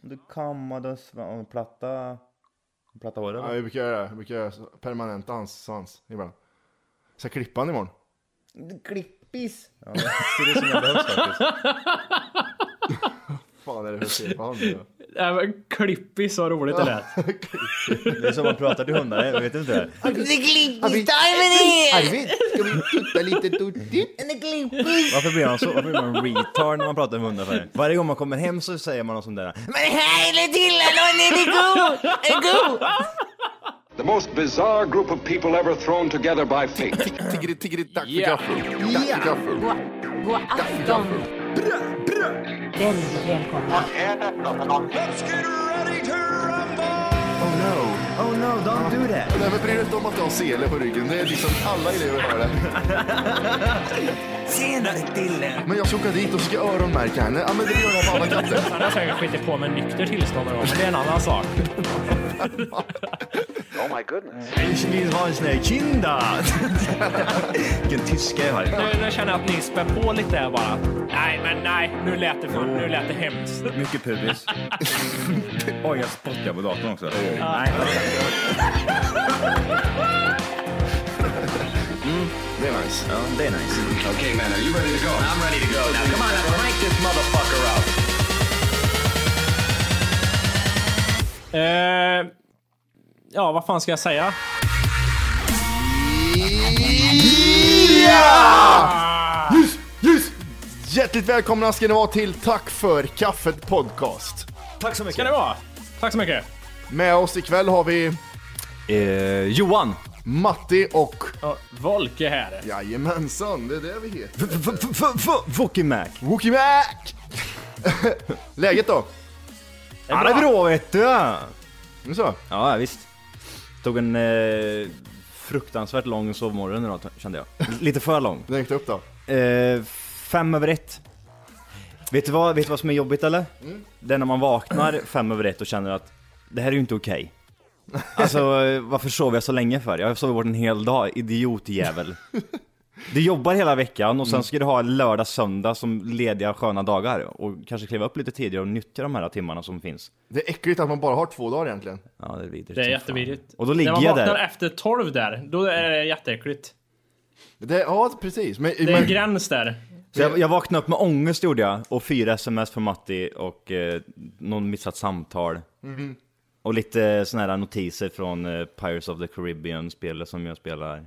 Du kammade och platta, platta håret? Ja, jag brukar göra det. Jag brukar göra permanenta hans svans ibland. Ska jag klippa han imorgon? Du Klippis! Ja, det ser ut som det behövs faktiskt. Fan är det för fel på han nu då? Äh, men Klippis, vad roligt det lät. Det är som man pratar till hundar, vet du inte det? Arvid, ska vi tutta lite tuttigt? Varför blir man så? Varför blir man retard när man pratar med hundar? För? Varje gång man kommer hem så säger man något sånt där. Men hej till hallå, ni är god! Är god! The most bizarre group of people ever thrown together by fate. Tiggeri, tiggeri, dack för Ja. gaffel. Dack för gaffel. God afton! Väldigt välkomna. Oh no. Oh no, don't do that! Nej men bryr dig inte om att du har sele på ryggen. Det är liksom alla elever har det. Tjena Dille! Men jag ska åka dit och ska öronmärka henne. Ja men det gör jag på alla katter. Han har säkert skitit på med nykter tillstånd någon gång, men det är en annan sak. Oh my goodness. Ich vill ha en sån här kinda! Vilken tyska jag har. Nu, nu känner jag att ni spär på lite här bara. Nej, men nej. Nu lät det, för, nu lät det hemskt. Mycket pubis. Oj, jag spottar på datorn också. Nej, Det är nice. ja, det är nice. Okay, man, are you ready to go? I'm ready to go. Now, come on, now, rank this motherfucker up. Eh, ja, vad fan ska jag säga? Ljus! Hjärtligt välkomna ska ni vara till Tack för kaffet podcast. Tack så mycket. Ska det vara? Tack så mycket. Med oss ikväll har vi Eh, Johan! Matti och Ja, Volke här. Jajamensan, det är det vi heter. Fucking Mac! Wookie Mac! Läget då? Ja, det är bra vet du! Nu så. Ja, visst. Tog en eh, fruktansvärt lång sovmorgon idag kände jag. Lite för lång. Den gick upp då. Eh, fem över ett. Vet du, vad, vet du vad som är jobbigt eller? Det är när man vaknar fem över ett och känner att det här är ju inte okej. Alltså eh, varför sov jag så länge för? Jag har sovit bort en hel dag, idiotjävel. Du jobbar hela veckan och sen ska du ha lördag, söndag som lediga sköna dagar och kanske kliva upp lite tidigare och nyttja de här timmarna som finns. Det är äckligt att man bara har två dagar egentligen. Ja, det är vidrigt. Det är som fan. jättevidrigt. Och då När ligger man jag vaknar där. efter 12 där, då är det jätteäckligt. Det, ja, precis. Men, Det är en men, gräns där. Så jag, jag vaknade upp med ångest gjorde jag, och fyra sms från Matti och eh, någon missat samtal. Mhm. Och lite eh, såna här notiser från eh, Pirates of the Caribbean spelet som jag spelar.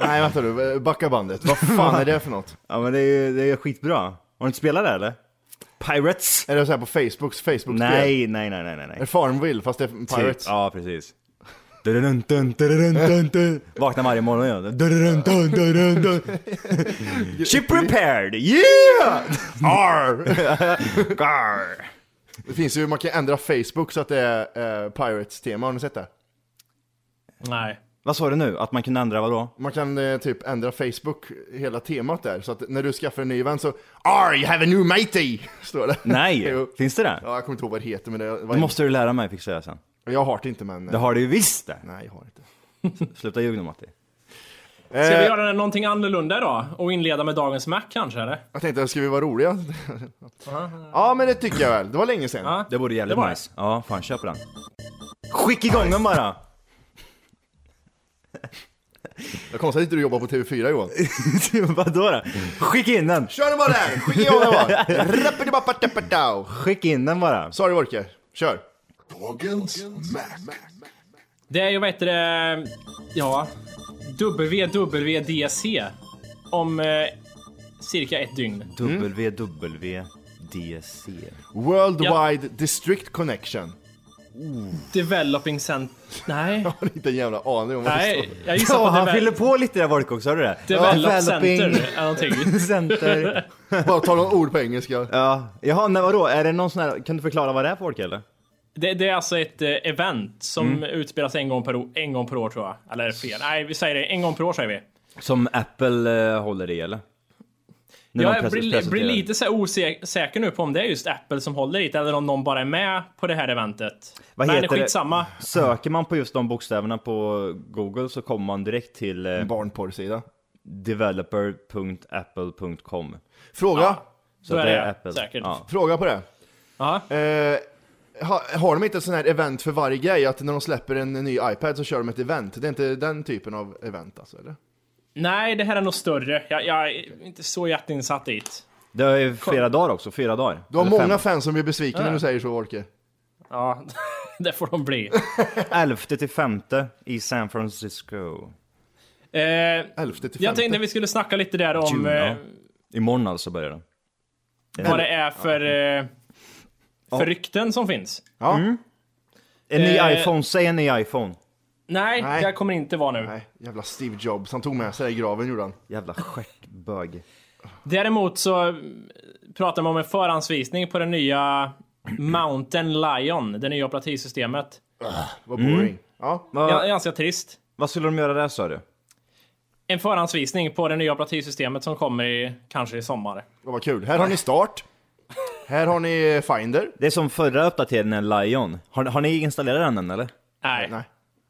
nej, vänta du. Backa bandet. Vad fan är det för något? ja men det är ju det är skitbra. Har du inte spelat det eller? Pirates? Är det så här på Facebooks Facebook-spel? Nej, nej, nej, nej, nej. Är det nej. Farmville fast det är Pirates? Typ, Ja, precis. Dun, dun, dun, dun, dun. Vaknar varje morgon och gör det. Dun, dun, dun, dun, dun. Ship repaired! Yeah! Arr! Garr! Det finns ju, man kan ändra Facebook så att det är eh, Pirates-tema, har ni sett det? Nej. Vad sa du nu? Att man kunde ändra vadå? Man kan eh, typ ändra Facebook, hela temat där, så att när du skaffar en ny vän så Are you have a new matey! Står det. Nej! Jo. Finns det det? Ja, jag kommer inte ihåg vad det heter, men det var Mm. Det måste du lära mig fixar jag sen. Jag har det inte, men... eh, Det har du ju visst det! Nej, jag har inte. Sluta ljuga nu Matti. Ska vi Eh, göra någonting annorlunda idag? Och inleda med dagens Mac kanske, eller? Jag tänkte, ska vi vara roliga? ja, men det tycker jag väl. Det var länge sedan. Ja. Det vore jävligt Det var nice. Ja, fan köp den. Skick igång den bara! Jag konstigt att inte du jobbar på TV4, Johan. Vadå då? Skicka in den! Kör den bara där! Skicka igång den bara! Rappidi-bappa-tappa-dow. Skicka in den bara! Sorry, Wolke. Kör! Det är ju vad heter det, ja, WWDC om eh, cirka ett dygn. WWDC. Worldwide District Connection. Developing Cent... Nej, Jag har inte en jävla aning om vad det står. nej, jag gissar Ja, på han deve- fyller på lite där Volk också, hörde du det? Develop Center eller någonting. Center. Bara ta några ord på engelska. Ja, jaha, nej vadå? Är det någon sån här, kan du förklara vad det är för folk eller? Det, det är alltså ett eh, event som Mm. utspelas en gång, per, o- en gång per år tror jag. Eller fel, nej vi säger det, en gång per år säger vi. Som Apple eh, håller i eller? När de Jag pres- blir, blir presenterar. lite så här osäker nu på om det är just Apple som håller i det eller om någon bara är med på det här eventet. Vad Men heter det? skitsamma. Söker man på just de bokstäverna på Google så kommer man direkt till eh, Barnporrsida. developer.apple.com. Fråga. Så Så att är det det, är Apple. säkert. Ja. Fråga på det. Ja. Eh, ha, har de inte sån här event för varje grej? Att när de släpper en ny iPad så kör de ett event? Det är inte den typen av event alltså, eller? Nej, det här är nog större. Jag, jag är inte så jätteinsatt i det. Det är ju flera dagar också, fyra dagar. Du har Eller många fem. fans som blir besvikna när du säger så, Volke. Ja, det får de bli. 11 till 5 i San Francisco. Eh, 11 till 15. jag tänkte vi skulle snacka lite där om June, eh, ja. Imorgon alltså börjar den. vad det är för, eh, för rykten som finns. Ja. Mm. En ny Eh. iPhone, säg en ny iPhone. Nej, Nej. jag kommer inte vara nu. Nej, jävla Steve Jobs. Han tog med sig det i graven, gjorde han. Jävla stjärtbög. Däremot så eh, pratar man om en förhandsvisning på den nya Mountain Lion, det nya operativsystemet. Vad Mm. boring. Ja. Va, Ja, Ganska trist. Vad skulle de göra där sa du? En förhandsvisning på det nya operativsystemet som kommer i, kanske i sommar. Och vad kul. Här har ni start. Här har ni Finder. Det är som förra uppdateringen, Lion. Har, har ni installerat den än eller? Nej. Nej.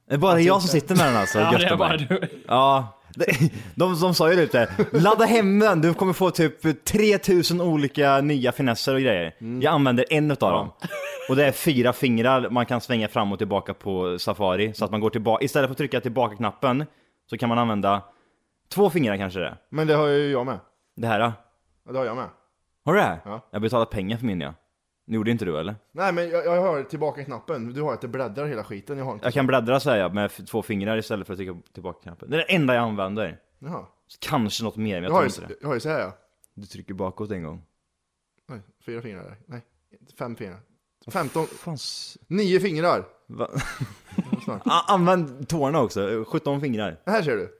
Det är bara jag som sitter med den alltså, Ja, det är Göteborg. bara du. Ja, det- de, de sa ju typ det. Ladda hem den, du kommer få typ 3000 olika nya finesser och grejer. Mm. Jag använder en utav dem. Och det är fyra fingrar man kan svänga fram och tillbaka på Safari. Så att man går tillbaka, istället för att trycka tillbaka-knappen så kan man använda två fingrar kanske det är. Men det har ju jag med. Det här. då? Ja, det har jag med. Har du det här? Ja. Jag betalat pengar för min ja. Det gjorde inte du eller? Nej, men jag, jag har tillbaka knappen. Du har att det bläddrar hela skiten. Jag har inte. Jag kan bläddra säger jag med f- två fingrar istället för att trycka tillbaka-knappen. Det är det enda jag använder. Jaha. Kanske något mer, men jag Jag har tror ju, inte det. jag har ju så här ja. Du trycker bakåt en gång. Nej, fyra fingrar. där. Nej, fem fingrar. Femton. Fanns... Nio fingrar. Va? A- Använd tårna också, 17 fingrar. Det här ser du.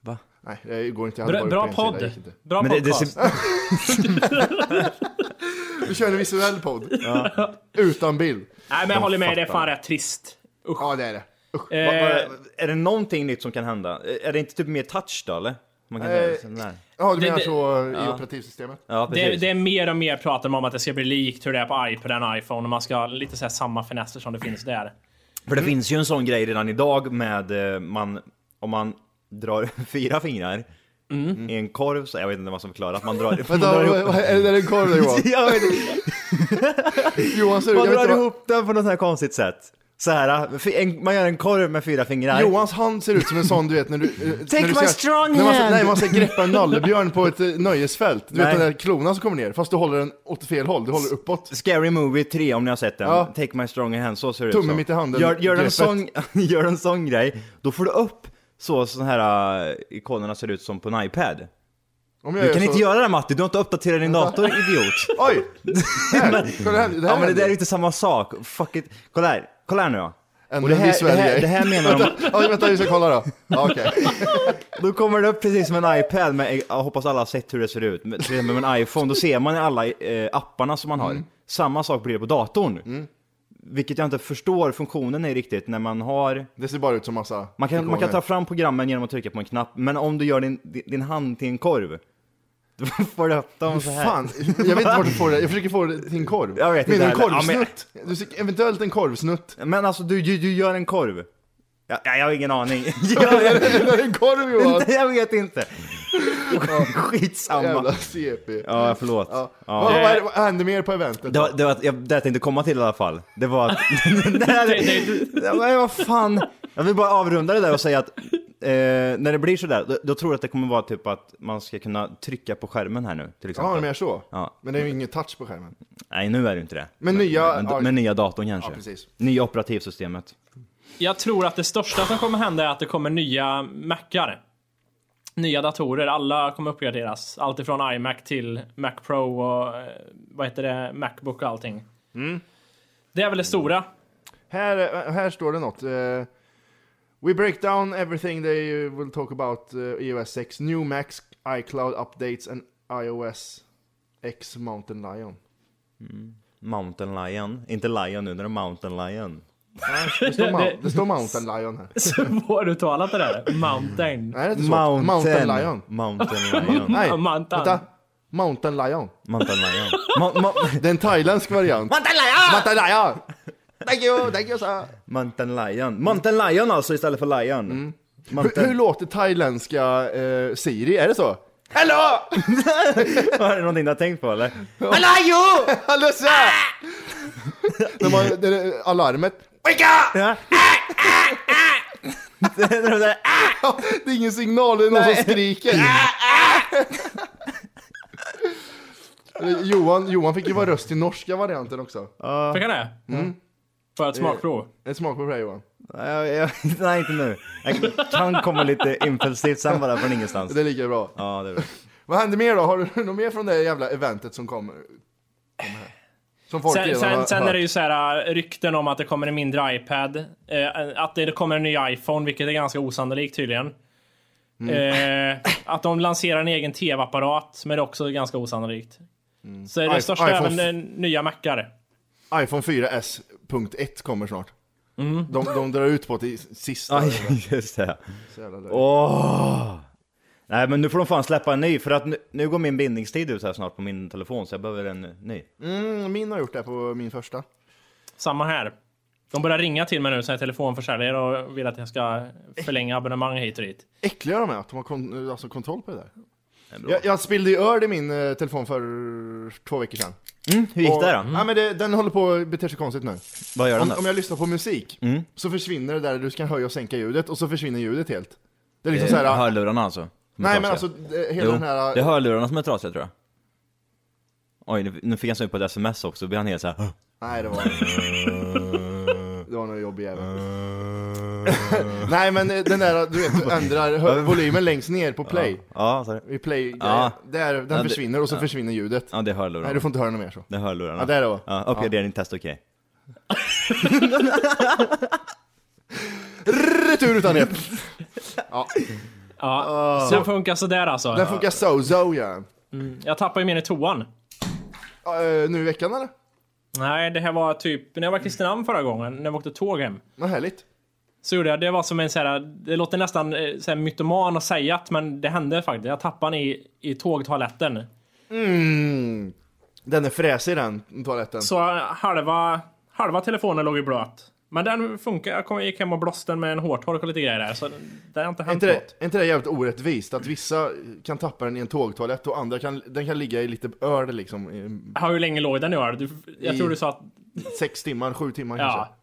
Va? Nej, det går inte. Jag hade Bra, varit bra på en sida, det podd. gick inte. Bra Men det- det podcast. Vi kör en visuell podd. Utan bild. Nej, men jag håller med. Det är fattar. fan rätt trist. Usch. Ja, det är det. Usch. Va, va, Eh, är det någonting nytt som kan hända? Är det inte typ mer touch då eller? Man kan Eh, göra sån där. Ja, du Det- menar det- så eh, i operativsystemet? Ja, det, precis. det är mer och mer pratar man om att det ska bli likt hur det är på iPad och iPhone och man ska ha lite så här samma finesser som det finns där. För det finns ju en sån grej redan idag med eh, man, om man drar fyra fingrar Mm. i en korv, så jag vet inte vad som förklarar, att man drar, man Vänta, drar vad- ihop vad- är det en korv där Johan? jag vet, inte. Johan ser ut, man jag vet drar inte vad, ihop den på något sånt här konstigt sätt. Så här, fi- en, man gör en korv med fyra fingrar. Johans hand ser ut som en sån du vet när du... eh, när du my ska- strong när man, ska- hand. Nej, man ska greppa en nallebjörn på ett eh, nöjesfält. Du Nej. vet den där klonan som kommer ner, fast du håller den åt fel håll, du håller uppåt. Scary Movie 3 om ni har sett den, Ja. Take My Stronger Hand, så ser det ut Tummen som. mitt i handen, Gör, gör, en greppet. sån, gör en sån grej, då får du upp så sån här äh, ikonerna ser ut som på en iPad. Om Du kan så- inte göra det Matti, du har inte uppdaterat din dator idiot. Oj! Här, kolla det Ja här, det här men det händer. där är ju inte samma sak, fuck it. Kolla här, kolla här nu då. Ännu Och det en här, det, visuell här, grej. det här menar de, Oj, vänta, vi ska kolla då. Ja, Okej. då kommer det upp precis som en iPad, men jag hoppas alla har sett hur det ser ut. Men till exempel med en iPhone, då ser man alla eh, apparna som man har. Mm. Samma sak blir det på datorn. Vilket jag inte förstår funktionen i riktigt, när man har Det ser bara ut som massa Man kan, man kan ikoner. ta fram programmen genom att trycka på en knapp, men om du gör din, din, din hand till en korv, då får du upp dem så här. Fan, jag vet inte vart du får det. Jag försöker få det till en korv. Jag vet inte Menar du en heller. Ja, men- korvsnutt? Du ser- eventuellt en korvsnutt. Men alltså du, du, du gör en korv. Ja, ja, jag har ingen aning. Är jag, det- är det en korv Johan? inte, jag vet inte. Skitsamma. Jävla CP. Ja, förlåt. Ja. Ja. Vad, vad, är det- vad hände mer på eventet? Det var, det var att jag, det jag tänkte komma till i alla fall, det var att... det här, Ja, men vad fan. Jag vill bara avrunda det där och säga att eh, när det blir sådär, då, då tror jag att det kommer vara typ att man ska kunna trycka på skärmen här nu till exempel. Ja, mer så. Ja. Men det är ju ingen touch på skärmen. Nej, nu är det inte det. Men nya- Men, ja. men nya datorn kanske. Ja, precis. Nya operativsystemet. Jag tror att det största som kommer hända är att det kommer nya Macar. Nya datorer, alla kommer uppgraderas. Allt ifrån iMac till Mac Pro och eh, vad heter det, Macbook och allting. Mm. Det är väl det stora. Här, här står det något. eh, we break down everything they will talk about eh, iOS 6, new Macs, iCloud updates and iOS X Mountain Lion. Mountain Lion. Inte Lion nu, när det är Mountain Lion. Nej, det, står Det- mount, det står Mountain Lion här. Svåruttalat det där. Mountain. Nej, det är inte så. Mountain. Mountain Lion. Mountain Lion. Nej, Mountain. vänta. Mountain Lion. Mountain Lion. Ma- ma- Det är en thailändsk variant. Mountain Lion! Mountain Lion! Thank you, thank you sir. Mountain Lion. Mountain Mm. Lion alltså istället för Lion. Hur, Mountain. hur låter thailändska eh, Siri? Är det så? Hallå! Är det någonting du har tänkt på eller? Hallå så! det var det, det, alarmet. Wicka! Ja. Det är de där, "Ah!" Det är ingen signal, det är någon som skriker. ah! Eller Johan, Johan fick ju vara röst i norska varianten också. Fick han det? Mm. För ett smakprov? Ett smakprov på det här, Johan. Nej, jag- jag- Nej, inte nu. Jag kan komma lite impulsivt sen bara från ingenstans. Det är lika bra. Ja, det är bra. Vad hände mer då? Har du något mer från det jävla eventet som kommer? kommer här? Som folk Sen, redan har sen, sen hört. är det ju så här äh, rykten om att det kommer en mindre iPad. Eh, att det kommer en ny iPhone, vilket är ganska osannolikt tydligen. Mm. Eh, att de lanserar en egen tv-apparat, men det är också ganska osannolikt. Så är det Mm. I- största iPhone även eh, nya Macar. iPhone 4S.1 kommer snart. De, de drar ut på till sista. Ja, just det. Så jävla löjligt. Åh! Nej men nu får de fan släppa en ny för att nu, nu går min bindningstid ut här snart på min telefon så jag behöver en ny. Mm, min har gjort det på min första. Samma här. De börjar ringa till mig nu, så här telefonförsäljare, och vill att jag ska förlänga abonnemang hit och dit. Äckliga de är, att de har kon- alltså kontroll på det där. Jag, jag spillde ju öl i min eh, telefon för två veckor sedan. Mm, Hur gick Och- det då? Ja, men det, den håller på att bete sig konstigt nu. Vad gör den Om, då? om jag lyssnar på musik så försvinner det där du ska höja och sänka ljudet och så försvinner ljudet helt. Det är liksom så här. hörlurarna alltså? som är nej men trasiga. alltså det, hela Jo, den här... det är hörlurarna som är trasiga tror jag. Oj, nu- nu fick han syn på ett sms också, då blir han helt såhär Nej det var... det var nog jobbig jävel. nej men eh, den där, du vet, du ändrar hö- volymen längst ner på play. Ja, sorry. I play, Ja. där, den det- försvinner och så försvinner ljudet. Ja, det är hörlurarna. Nej du får inte höra något mer så. Det är hörlurarna. Ja, det är det, va? Ja, uppgradera din test, okej. Retur utan rep! Ja, den funkar sådär alltså. Ah. Den funkar so-so ja. Jag tappade ju min i toan. Eh, nu i veckan eller? Nej, det här var typ när jag var i Kristinehamn förra gången, när jag åkte tåg hem. Vad härligt. Så gjorde jag, det var som en så här, det låter nästan eh, så här mytoman att säga att, men det hände faktiskt. Jag tappade den i, i tågtoaletten. Mm. Den är fräsig den toaletten. Så halva, halva telefonen låg ju blöt. Men den funkar. Jag kom, gick hem och blåste den med en hårtork och lite grejer där. Så det har inte Är hänt inte, något. det, är inte det jävligt orättvist att vissa kan tappa den i en tågtoalett och andra kan, den kan ligga i lite öl liksom i Hur länge låg den i öl? Du- Jag I- tror du sa att... sex timmar, sju timmar Ja. kanske?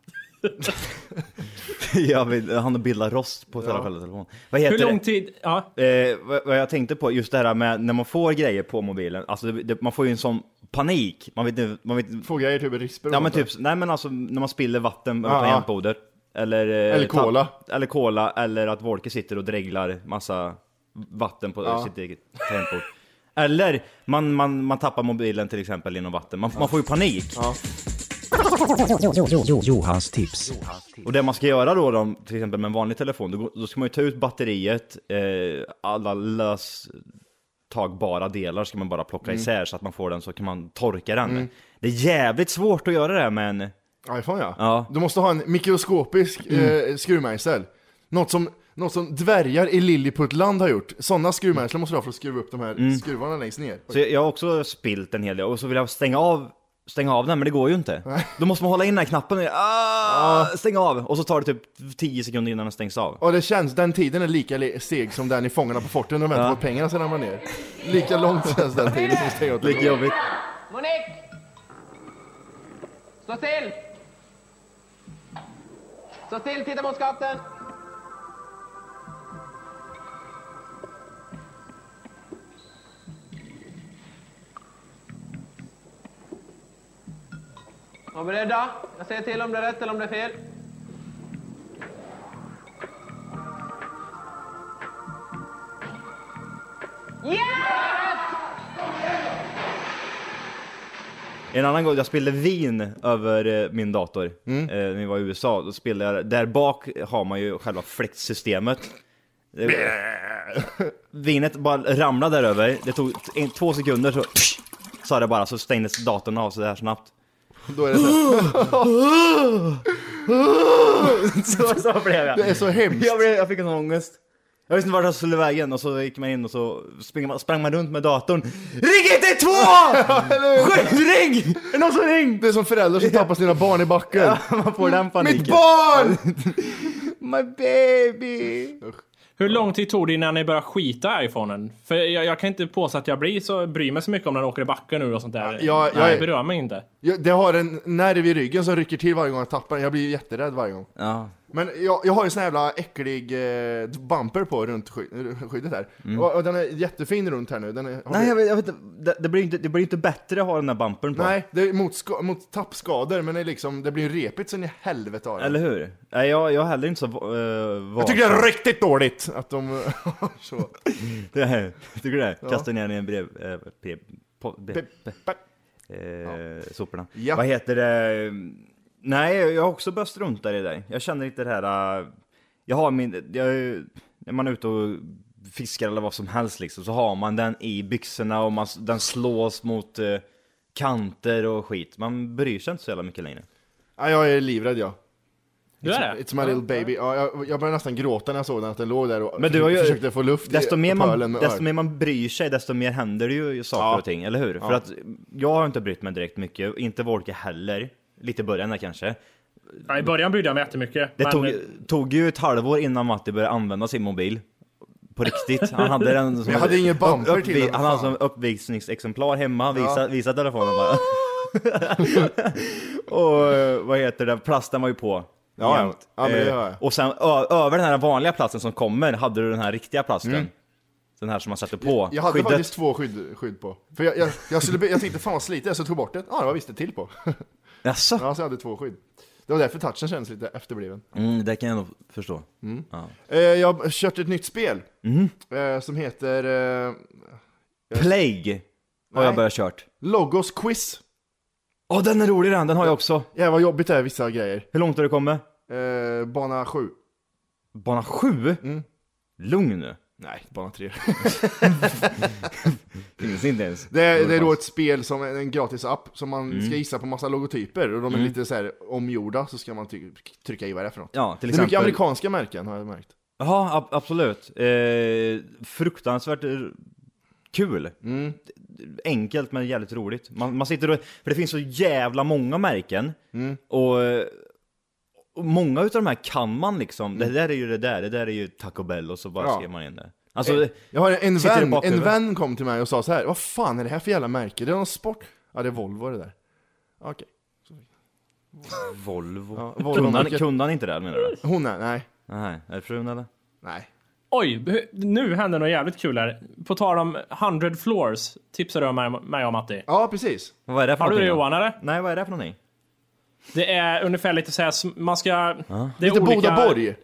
jag vill, han bildar rost på ja. själva telefonen. Vad heter Hur det? lång tid... Ja. Eh, vad, vad jag tänkte på, just det här med när man får grejer på mobilen, alltså det, det, man får ju en sån panik. Man vet inte, man vet Få grejer typ i risper och Ja sånt men där. typ, nej men alltså när man spiller vatten över Ja, ja. tangentbordet. Eller, eh, Eller cola. tapp- Eller cola, eller att Wolke sitter och dreglar massa vatten på sitt eget tangentbord. Eller man, man, man tappar mobilen till exempel genom vatten, man, man får ju panik. Johans tips. Och det man ska göra då, då till exempel med en vanlig telefon, då, går- då ska man ju ta ut batteriet, eh, alla lös tagbara delar ska man bara plocka isär så att man får den så kan man torka den. Det är jävligt svårt att göra det här med en... iPhone ja. typ. Ja. Mm. Du måste ha en mikroskopisk eh, skruvmejsel. Något som, något som dvärgar i Lilliputland har gjort. Sådana skruvmejslar måste du ha för att skruva upp de här skruvarna längst ner. Mm. Så jag, jag har också spilt en hel del och så vill jag stänga av, stänga av den men det går ju inte. Då måste man hålla in den här knappen och ah, stänga av och så tar det typ 10 sekunder innan den stängs av. Och det känns, den tiden är lika le- seg som den i Fångarna på forten när de väntar på att pengarna ska ramla ner. Lika långt känns den tiden som steg åt Lika jobbigt. Monique Stå still! Stå still, titta mot skaften! Var beredda. Jag säger till om det är rätt eller om det är fel. En annan gång, jag spillde vin över eh, min dator eh, när vi var i USA. Då spillade jag, där bak har man ju själva fläktsystemet. Det- Vinet bara ramlade där över. Det tog en, två sekunder så sa det bara så stängdes datorn av så där snabbt. Då är det, så här, Så, så blev jag. det är så hemskt. Jag, blev, jag fick en ångest. Jag visste inte vart jag skulle vägen och så gick man in och så sprang man, sprang man runt med datorn. Ring 112! Skjutring! Är det någon som ringt? Det är som föräldrar som tappar sina barn i backen. Man får den paniken. Mitt barn! My baby! Hur lång tid tog det innan ni började skita i iPhonen? För jag, jag kan inte påstå att jag blir så, bryr mig så mycket om den åker i backen nu och sånt där. Ja, jag- det berör mig inte. Jag, det har en nerv i ryggen som rycker till varje gång jag tappar den. Jag blir jätterädd varje gång. Ja. Men jag, jag har ju sån jävla äcklig eh, bumper på runt sky- skyddet här. Och, och den är jättefin runt här nu. Den är, har Mm. Nej, vi- jag vet, jag vet inte. det, det blir ju inte, det blir ju inte bättre att ha den där bumpern på. Nej, det är mot, ska- mot tappskador, men det, är liksom, det blir repigt sen i helvete av det. Eller hur? Nej, jag, jag är heller inte så uh, Jag tycker det är riktigt dåligt att de så. Det, tycker du det? Kasta ner den i en brev... Eh, pe, po, be, Pe- pe- eh, Soporna. Ja. Vad heter det? Nej, jag har också börjat strunta i det där. Jag känner inte det här... eh, Jag har min... Jag, är ju- när man är ute och fiskar eller vad som helst liksom, så har man den i byxorna och man, den slås mot eh, kanter och skit. Man bryr sig inte så jävla mycket längre. Ja, jag är livrädd jag. Du är det? It's my little baby. Ja, jag, jag började nästan gråta när jag såg den, att den låg där och Men du har ju- försökte få luft Desto i mer, pölen man, med desto öl. mer man bryr sig, desto mer händer det ju saker Ja. och ting, eller hur? För att jag har inte brytt mig direkt mycket, inte Volke heller. Lite i början där kanske. Ja, I början brydde jag mig jättemycket. Det men- eh, tog, tog ju ett halvår innan Matti började använda sin mobil. På riktigt. Han hade den som jag hade ingen bumper till den, Han hade fan. som uppvisningsexemplar hemma, visa, visa telefonen bara. och eh, vad heter det, plasten var ju på. Ja, ja. jämt. Ja, men det Eh, gör jag. och sen ö- över den här vanliga plasten som kommer hade du den här riktiga plasten. Den här som man sätter på. Mm. Jag hade skyddet. faktiskt två skydd, skydd på. För jag, jag, jag, skulle, be- jag tänkte fan vad slitet jag så jag tog bort det. Ja, det var visst det till på. Jaså? Ja, så jag hade två skydd. Det var därför touchen kändes lite efterbliven. Mm, det kan jag nog förstå. Ja. Eh, jag har kört ett nytt spel. Mhm. Eh, som heter eh, Plague har jag Nej. börjat kört. Logos Quiz. Åh, den är rolig den, den har jag också. Jävlar vad jobbigt det är vissa grejer. Hur långt har du kommit? Eh, bana 7. Bana 7? Mm. Lugn nu. Nej, bana 3. Finns inte ens. Det är, det är då ett spel som är en gratis app som man Mm. ska gissa på massa logotyper och de är lite så här omgjorda så ska man ty- trycka i vad det är för något. Ja, till Det är mycket exempel. amerikanska märken har jag märkt. Ja, ab- absolut. Eh, fruktansvärt eh, kul. Enkelt men jävligt roligt. Man, man sitter och, för det finns så jävla många märken. Och, eh, och många utav de här kan man liksom. Det där är ju det där, det där är ju Taco Bell och så bara Ja. Eh, skriver man in det. Alltså, Jag har en Sitter i vän, en bakhuvudet. vän kom till mig och sa så här. Vad fan är det här för jävla märke? Det är någon sport? Ja, det är Volvo det där. Okej. Volvo. Ja, kunde, han, Volvo-märket. kunde han inte det menar du? Hon är, nej, Nej, är det frun eller? nej. Oj, hu- nu händer något jävligt kul här. På tal om 100 floors tipsade du mig- mig om Matti. Ja, precis. Vad är det för Har du det någonting? då? Johan eller? Nej, vad är det för någonting? Det är ungefär lite såhär, sm- man ska... Det är Lite olika- Bodaborg.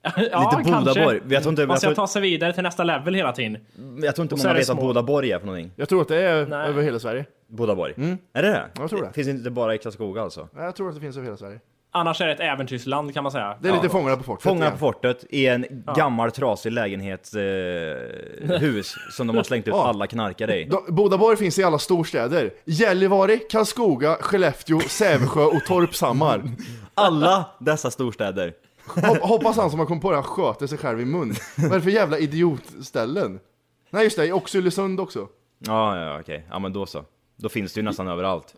ja, Lite Bodaborg. kanske. Jag tror inte, Man jag ska tror, ta sig vidare till nästa level hela tiden. jag tror inte så många är det vet vad små. Bodaborg är för någonting. Jag tror att det är Nej. över hela Sverige. Bodaborg. Är det det? Mm. Jag tror det. Finns inte bara i Karlskoga alltså? Nej, Jag tror att det finns över hela Sverige. Annars är det ett äventyrsland kan man säga. Det är lite Fångarna på fortet. Fångarna igen. på fortet i en gammal trasig lägenhetshus eh, hus som de har slängt ut Ja. alla knarkare i. De- Bodaborg finns i alla storstäder. Gällivare, Karlskoga, Skellefteå, Sävsjö och Torpshammar. Alla dessa storstäder. Hop- hoppas han som har kommit på det här sköter sig själv i mun. Vad är det för jävla idiotställen? Nej just det, Oxelösund också. Ja, ja, ja, okej. Ja, men då så. Då finns det ju nästan överallt.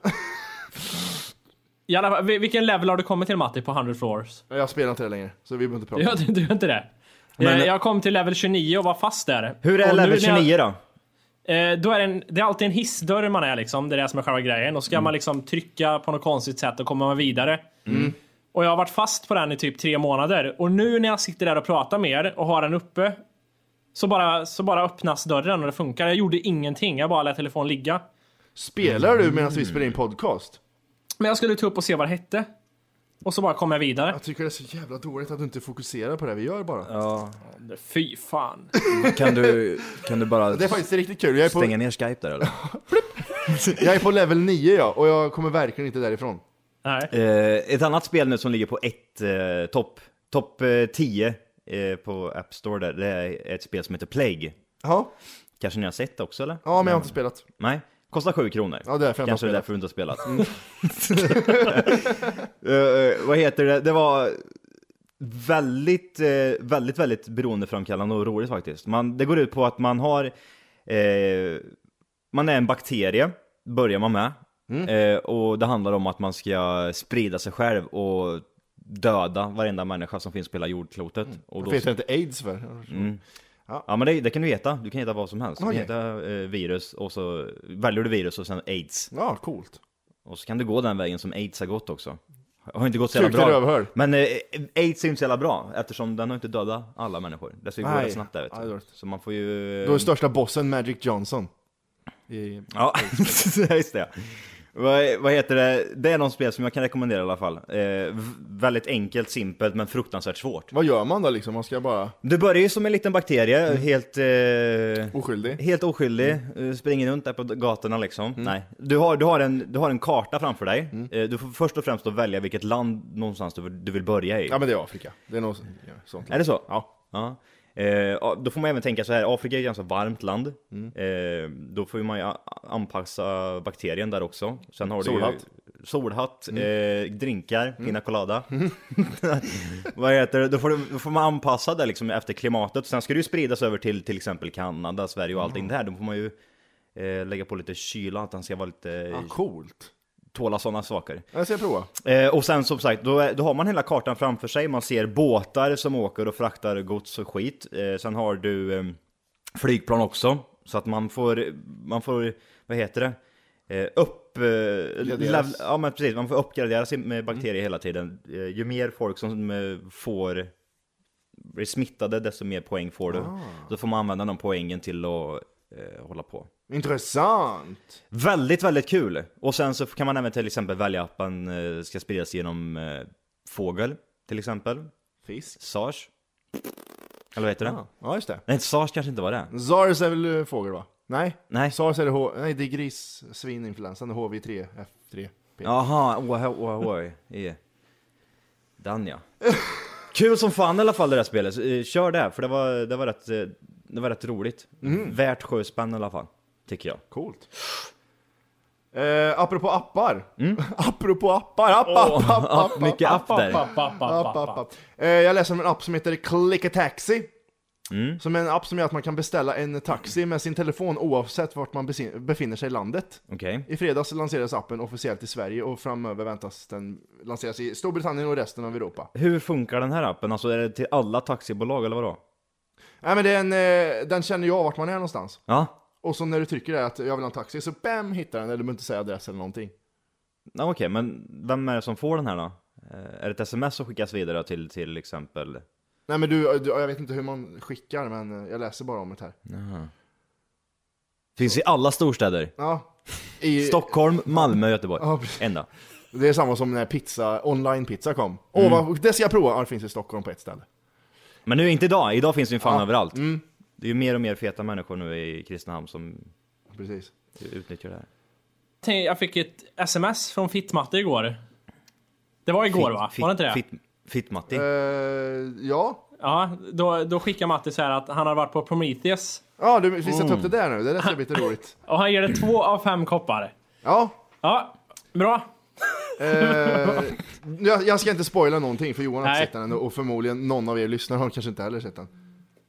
I alla fall, vil- vilken level har du kommit till Matti på 100 floors? Jag spelar inte det längre, så vi behöver inte prata. Jag, du gör inte det? Men- Eh, jag kom till level 29 och var fast där. Hur är och nu level när jag- 29 då? Eh, då är det, en, det är alltid en hissdörr man är liksom. Det är det som är själva grejen. Och ska Mm. man liksom trycka på något konstigt sätt och kommer man vidare. Mm. Och jag har varit fast på den i typ tre månader. Och nu när jag sitter där och pratar med er och har den uppe. Så bara, så bara öppnas dörren och det funkar. Jag gjorde ingenting. Jag bara lät telefonen ligga. Spelar du medan vi spelar in podcast? Men jag skulle ta upp och se vad det hette. Och så bara kom jag vidare. Jag tycker det är så jävla dåligt att du inte fokuserar på det vi gör bara. Fy fan. Kan du, kan du bara Det är faktiskt riktigt kul, jag är, på, stänga ner Skype där eller? jag är på level 9 ja, och jag kommer verkligen inte därifrån. Nej. Eh, ett annat spel nu som ligger på ett eh, topp, topp eh, 10 eh, på App Store där, det är ett spel som heter Plague. Ja, Kanske ni har sett också eller? ja men jag har inte spelat. Nej, kostar 7 kronor. Ja, det är därför jag inte har Kanske det är spelat. Mm. därför du inte har spelat. Eh, eh, vad heter det? Det var väldigt, eh, väldigt, väldigt beroendeframkallande och roligt faktiskt. Man, det går ut på att man har, eh, man är en bakterie, Mm. börjar man med. Eh, och det handlar om att man ska sprida sig själv och döda varenda människa som finns på hela jordklotet. Och Då då, finns Mm. det inte aids för. ja men det, det kan du heta, du kan heta vad som helst. Okej. Du kan heta eh, virus och så väljer du virus och sen aids. Ja, coolt. Och så kan du gå den vägen som aids har gått också. Har inte gått så Sjukt i jävla bra. rövhål. Men eh, aids är ju inte så jävla bra eftersom den har inte dödat alla människor. Dessutom går Nej. det snabbt där vet Ja, det är du. dåligt. Så man får ju... Då är största bossen Magic Johnson. I... Ja, just det. Vad, vad heter det? Det är någon spel som jag kan rekommendera i alla fall. Eh, v- väldigt enkelt, simpelt men fruktansvärt svårt. Vad gör man då liksom? Man ska bara... Du börjar ju som en liten bakterie, helt... Eh... Oskyldig? Mm. Helt oskyldig, eh, springer runt där på gatorna liksom. Nej. Du har, du, har en, du har en karta framför dig. Mm. Eh, Du får först och främst då välja vilket land någonstans du, du vill börja i. Ja men det är Afrika. Det är något sånt. Är det så? Ja. Ja. Eh, ja, då får man även tänka så här, Afrika är ett ganska varmt land. Eh, då får man ju a- anpassa bakterien där också. Sen har Solhatt. du ju solhatt, eh, drinkar, pina colada. Vad heter det? Då får, du, då får man anpassa det liksom efter klimatet. Sen ska det ju spridas över till till exempel Kanada, Sverige och allting där. Då får man ju eh, lägga på lite kyla, att den ska vara lite, Ah, coolt. tåla sådana saker. Jag ska prova. Eh, och sen som sagt, då, är- då har man hela kartan framför sig. Man ser båtar som åker och fraktar gods och skit. Eh, sen har du eh, flygplan också. Så att man får, man får vad heter det? Eh, upp... Eh, lev- ja men precis, man får uppgradera sin med bakterier hela tiden. Eh, ju mer folk som eh, får blir smittade, desto mer poäng får du. Då får man använda de poängen till att eh, hålla på. Intressant! Väldigt, väldigt kul! Och sen så kan man även till exempel välja att man eh, ska spridas genom eh, fågel, till exempel. Fisk? Sars. Eller vad heter det? Ja, ja just det. Nej, sars kanske inte var det. Sars är väl eh, fågel va? Nej? Nej. Sars är det, H- Nej, det är gris, svininfluensan, HV3F3. Jaha, oh, oh, oh, yeah. Den ja. Kul som fan i alla fall det där spelet. Eh, Kör det, för det var, det var, rätt, eh, det var rätt roligt. Värt sju spänn i alla fall, tycker jag. Coolt. Eh, apropå appar. apropå appar, app, app, app, app, app, mycket app där. App, app, app, app, app, app, app. app. Eh, jag läser om en app som heter Click a Taxi. Som är en app som gör att man kan beställa en taxi med sin telefon oavsett vart man besin- befinner sig i landet. Okej. I fredags lanserades appen officiellt i Sverige och framöver väntas den lanseras i Storbritannien och resten av Europa. Hur funkar den här appen? Alltså är det till alla taxibolag eller vadå? Nej men den, eh, den känner jag vart man är någonstans. Ja, Och så när du trycker där att jag vill ha en taxi så bam hittar den, eller du behöver inte säga adress eller någonting. Ja, Okej, men vem är det som får den här då? Eh, Är det ett sms som skickas vidare till till exempel? Nej men du, du jag vet inte hur man skickar men eh, jag läser bara om det här. Finns i alla storstäder. Ja. I, Stockholm, Malmö, Göteborg. Ja, precis. Enda. det är samma som när pizza, online-pizza kom. Åh, Mm. vad, det ska jag prova! Ja, det finns i Stockholm på ett ställe. Men nu inte idag, idag finns det ju fan överallt. Mm, Det är ju mer och mer feta människor nu i Kristinehamn som precis. utnyttjar det här. Tänk, Jag fick ett sms från Fittmatte igår. Det var igår va? Var det inte det? Fit, Fitt-Matti. Eh, ja. Ja, då, då skickar Matti så här att han har varit på Prometheus. Ja, du, vi ska ta Mm. upp det där nu. Det där ska bli lite roligt. Och han ger det två av fem koppar. Ja. Ja, bra. Eh, jag, jag ska inte spoila någonting för Johan har inte Nej. sett den ännu, och förmodligen någon av er lyssnare har kanske inte heller sett den.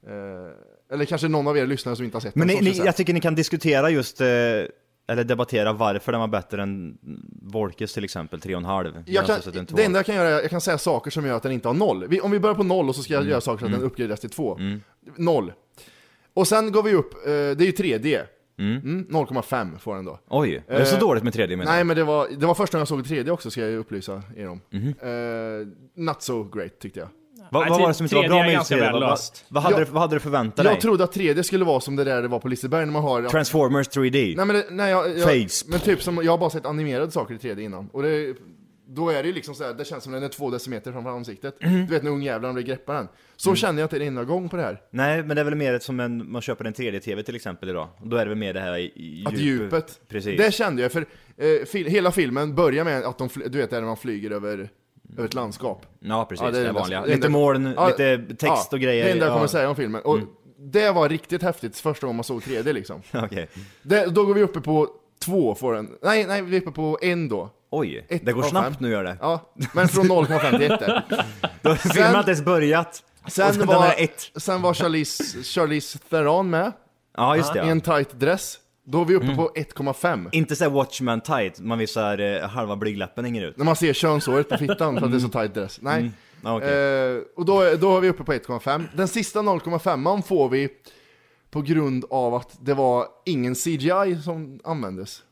Eh, eller kanske någon av er lyssnare som inte har sett Men den. ni, som ni, ska se jag tycker ni kan diskutera just, eh, eller debattera varför den var bättre än Wolkes till exempel, 3,5. Jag medan kan, har sett en tvåa. det enda jag kan göra är jag kan säga saker som gör att den inte har noll. Vi, om vi börjar på noll och så Mm. ska jag göra saker så att den uppgraderas till två. Noll. Och sen går vi upp, eh, det är ju 3D. Mm, 0,5 får den då. Oj, är det så dåligt med 3D menar Eh, Nej du? men det var, det var första gången jag såg 3D också ska jag ju upplysa er om. Mhm. Eh, not so great tyckte jag. Vad, Nej, vad var det som inte var 3D bra är med just ganska 3D? väl Vad, vad, löst. vad, hade Jag- du, vad hade du förväntat dig? Jag trodde att 3D skulle vara som det där det var på Liseberg när man har... Transformers 3D. Nej men, det- nej, jag, jag, Face. men typ som, jag har bara sett animerade saker i 3D innan. Och det, då är det ju liksom så här, det känns som den är två decimeter framför ansiktet. Mhm. Du vet när ungjävlarna vill greppa den. Så Mm. känner jag inte en enda gång på det här. Nej, men det är väl mer som en, man köper en 3D-TV till exempel idag. Då är det väl mer det här i, i Att djup- djupet. Precis. Det kände jag, för eh, fil, hela filmen börjar med att de, fly- du vet det här när man flyger över, över ett landskap. Ja, precis. Ja, det är det enda- vanliga. det lite enda- moln, Ja, lite text ja, och grejer. Det enda jag ja. Mm. kommer säga om filmen. Och det var riktigt häftigt första gången man såg 3D liksom. Okej. Det, då går vi uppe på två, får den. Nej, nej, vi är uppe på en då. Oj, Ett det går av snabbt fem. nu gör det. Ja, men från 0,5 till 1 där. Då har filmen inte ens börjat. och Sen den är var, ett. sen var Charlize, Charlize Theron med Ja, just det. Mm. i Ja. en tight dress. Då är vi uppe på 1,5. Inte såhär Watchman tight, man visar eh, halva blygdläppen hänger ut. När man ser könsåret på fittan för att det är så tight dress. Nej. Ja, Mm. okej. Eh, och då, då är vi uppe på 1,5. Den sista 0,5an får vi på grund av att det var ingen CGI som användes.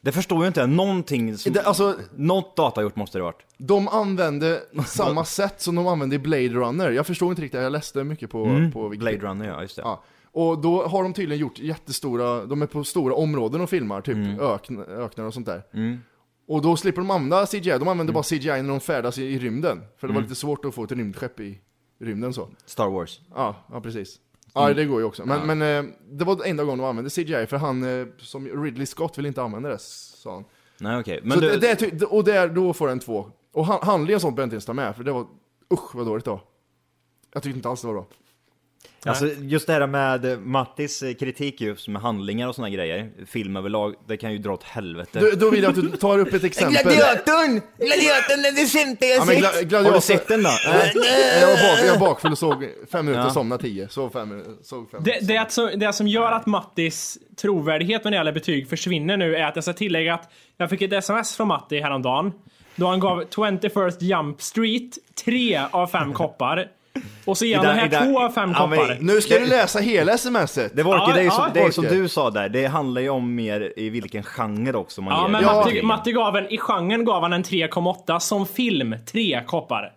Det förstår ju inte jag, någonting som... Det, alltså, Något data gjort måste det varit. de använde samma sätt som de använde i Blade Runner. Jag förstår inte riktigt, jag läste mycket på, på Mm. Blade Runner ja, just det. Ja. Och då har de tydligen gjort jättestora, de är på stora områden och filmar, typ ökn, öknar och sånt där. Och då slipper de använda CGI, de använder bara CGI när de färdas i, i rymden. För det var lite svårt att få ett rymdskepp i rymden så. Star Wars. Ja, ja precis. Mm. Ja, det går ju också. Men, men eh, det var den enda gången de använde CGI, för han eh, som Ridley Scott ville inte använda det, sa han. Nej okej, Så men det, du... det är ty- och där, då får den två. Och han, handlingen och sånt behöver inte ens ta med, för det var, usch vad dåligt då. Jag tyckte inte alls det var bra. Alltså just det här med eh, Mattis eh, kritik just med handlingar och såna grejer, film överlag, det kan ju dra åt helvete. Du, då vill jag att du tar upp ett exempel. Gladiatorn! Gladiatorn är det sämsta jag Ja, men gla- sett! eh, gladiator- Har du sett den då? Eh, Nej, jag var, bak, jag var bakfull och såg fem minuter, Ja. somnade tio, sov fem minuter, såg fem Det, det, som, det som gör att Mattis trovärdighet när det gäller betyg försvinner nu är att jag ska tillägga att jag fick ett sms från Matti häromdagen. Då han gav 21st Jump Street 3 av 5 koppar. Och så ger han I den den- i här den- 2 av 5 ja, men- koppar. Nu ska du läsa hela smset! Det, var, Ja, det, är ju ja, som, det är som Volker. du sa där, det handlar ju om mer i vilken genre också man Ja, ger men det. Matti, Matti gav en, i genren gav han en 3,8 som film 3 koppar.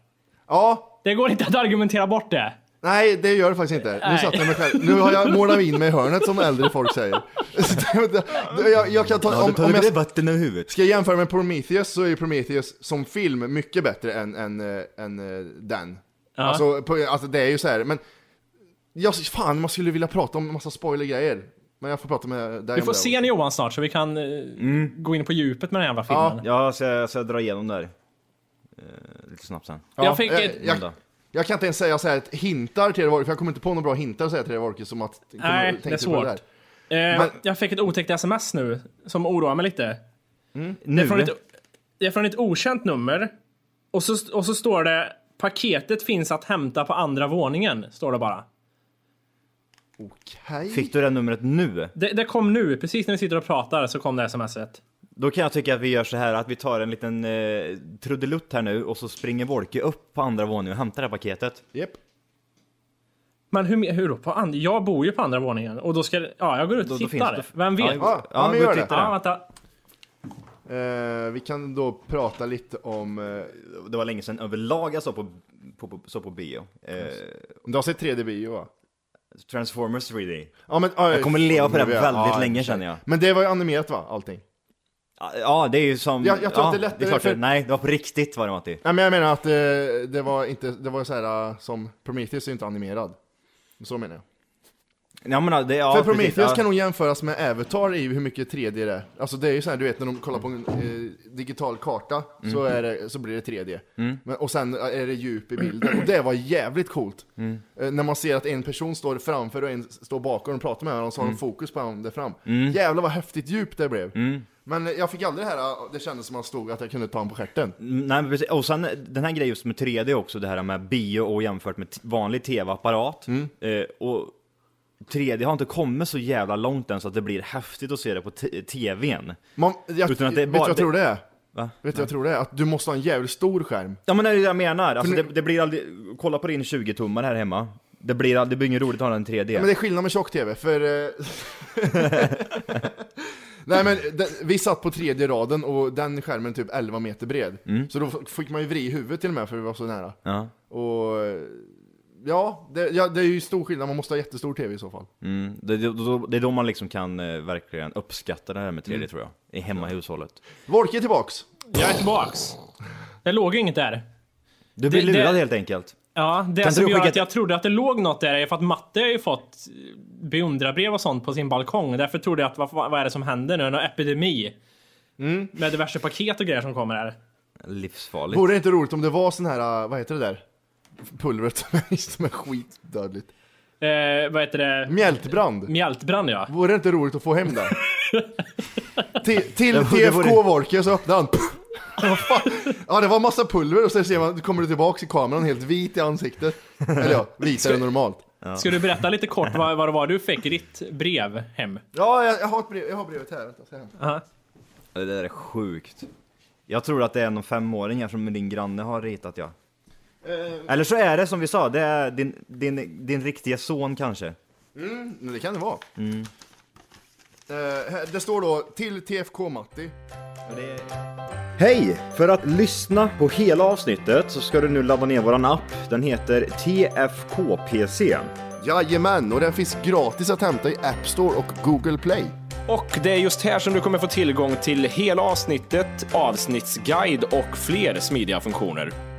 Ja, Det går inte att argumentera bort det. nej det gör det faktiskt inte. Nu Nej. satte jag mig själv, nu har jag målat in mig i hörnet som äldre folk säger. Så det- det- jag, jag kan ta, Har om, du om tagit jag vatten över huvudet? ska jämföra med Prometheus så är ju Prometheus som film mycket bättre än, än, eh, än eh, den. Alltså, på, alltså det är ju så här, men jag, fan man skulle vilja prata om en massa spoilergrejer. Men jag får prata med dig Vi om får det. se en Johan snart så vi kan eh, gå in på djupet med den jävla filmen. Mm. Ja, Ja, så jag, så jag drar igenom där. Eh, lite snabbt sen. Ja, Jag fick jag- ett- Men jag, då. Jag kan inte ens säga så här att hintar till det Vorkis, för jag kommer inte på några bra hintar att säga till det Vorkis som att... kommer- Nej, tänkte det är på svårt. där. Eh, Jag fick ett otäckt sms nu som oroar mig lite. Det är från Nu? ett, det är från ett okänt nummer. Och så, och så står det paketet finns att hämta på andra våningen. Står det bara. Okej. Fick du det numret nu? Det, det kom nu, precis när vi sitter och pratar så kom det smset. Då kan jag tycka att vi gör så här att vi tar en liten eh, trudelutt här nu och så springer Wolke upp på andra våningen och hämtar det här paketet. Japp. Men hur, hur då? På and- jag bor ju på andra våningen och då ska det- Ja, jag går ut Då- och då tittar. finns det- Vem vet? Ja, ja, men gå gör och det. titta Ja, där. vänta. Eh, vi kan då prata lite om... eh, Det var länge sedan överlag jag såg på, på, på, såg på bio. Eh, du har sett 3D-bio va? Transformers 3D. Ja, men, Jag kommer leva på det väldigt länge känner jag. Men det var ju animerat va, allting? Ja, det är ju som... Jag- jag tror ja, att det är lättare klart för- det- Nej, det var på riktigt var det Matti. Nej men jag menar att eh, det var inte, det var så här eh, som Prometheus är ju inte animerad. Så menar jag. Ja, men, det, ja, För precis, Prometheus ja. kan nog jämföras med Avatar i hur mycket 3D det är. Alltså det är ju så här, du vet när de kollar på en eh, digital karta så, Mm. är det, så blir det 3D. Men, och sen är det djup i bilden och det var jävligt coolt. Mm. Eh, när man ser att en person står framför och en står bakom och pratar med varandra och så har Mm. de fokus på honom där fram. Jävlar vad häftigt djup det blev. Mm. Men eh, jag fick aldrig det här, eh, det kändes som att man stod att jag kunde ta honom på stjärten. Mm, Nej, men precis. Och sen den här grejen just med 3D också, det här med bio och jämfört med t- vanlig tv-apparat. Mm. Eh, och 3D har inte kommit så jävla långt än så att det blir häftigt att se det på t- tvn. Man, jag, Utan att det är vet bara- du vad jag tror det är? Va? Vet du vad jag tror det är? Att du måste ha en jävligt stor skärm. Ja men det är det jag menar, alltså, nu- det, det blir aldrig, kolla på din 20-tummare här hemma. Det blir, aldrig- det blir inget roligt att ha den 3D. Men det är skillnad med tjock-tv, för... eh, Nej men den, vi satt på tredje raden och den skärmen är typ 11 meter bred. Så då f- fick man ju vri i huvudet till och med för vi var så nära. Ja. Och eh, ja det, ja, det är ju stor skillnad, man måste ha jättestor tv i så fall. Mm, det, det, då- det är då man liksom kan eh, verkligen uppskatta det här med 3D tror jag. I hemmahushållet. Wolke är tillbaks! Jag är tillbaks. Det låg ju inget där. Du blir Det- det- lurad helt enkelt. Ja, det Kan som du gör skicka att ett- jag trodde att det låg något där är för att Matte har ju fått beundrarbrev och sånt på sin balkong. Därför trodde jag att vad, vad är det som händer nu? Någon epidemi? Mm. Med diverse paket och grejer som kommer här. Livsfarligt. Vore det inte roligt om det var sån här, eh, vad heter det där? Pulvret som är- som är skitdödligt. Eh, vad heter det? Mjältbrand! Mjältbrand ja. Vore det inte roligt att få hem den? till till vore- det vore- TFK Vorke så öppnade han. Vad fan? ja det var massa pulver och så ser man, kommer du tillbaks i kameran helt vit i ansiktet. Eller ja, vitare än normalt. Ska du berätta lite kort vad, vad det var du fick i ditt brev hem? Ja, jag, jag, har, ett brev, jag har brevet här. Vänta, ska jag hämta. Det där är sjukt. Jag tror att det är någon femåring som din granne har ritat ja. Eh, Eller så är det som vi sa, det är din, din, din riktiga son kanske. men det kan det vara. Mm. Eh, här- det står då till TFK Matti. Hej! För att lyssna på hela avsnittet så ska du nu ladda ner våran app. Den heter TFKPC. Jajamän, och den finns gratis att hämta i App Store och Google Play. Och det är just här som du kommer få tillgång till hela avsnittet, avsnittsguide och fler smidiga funktioner.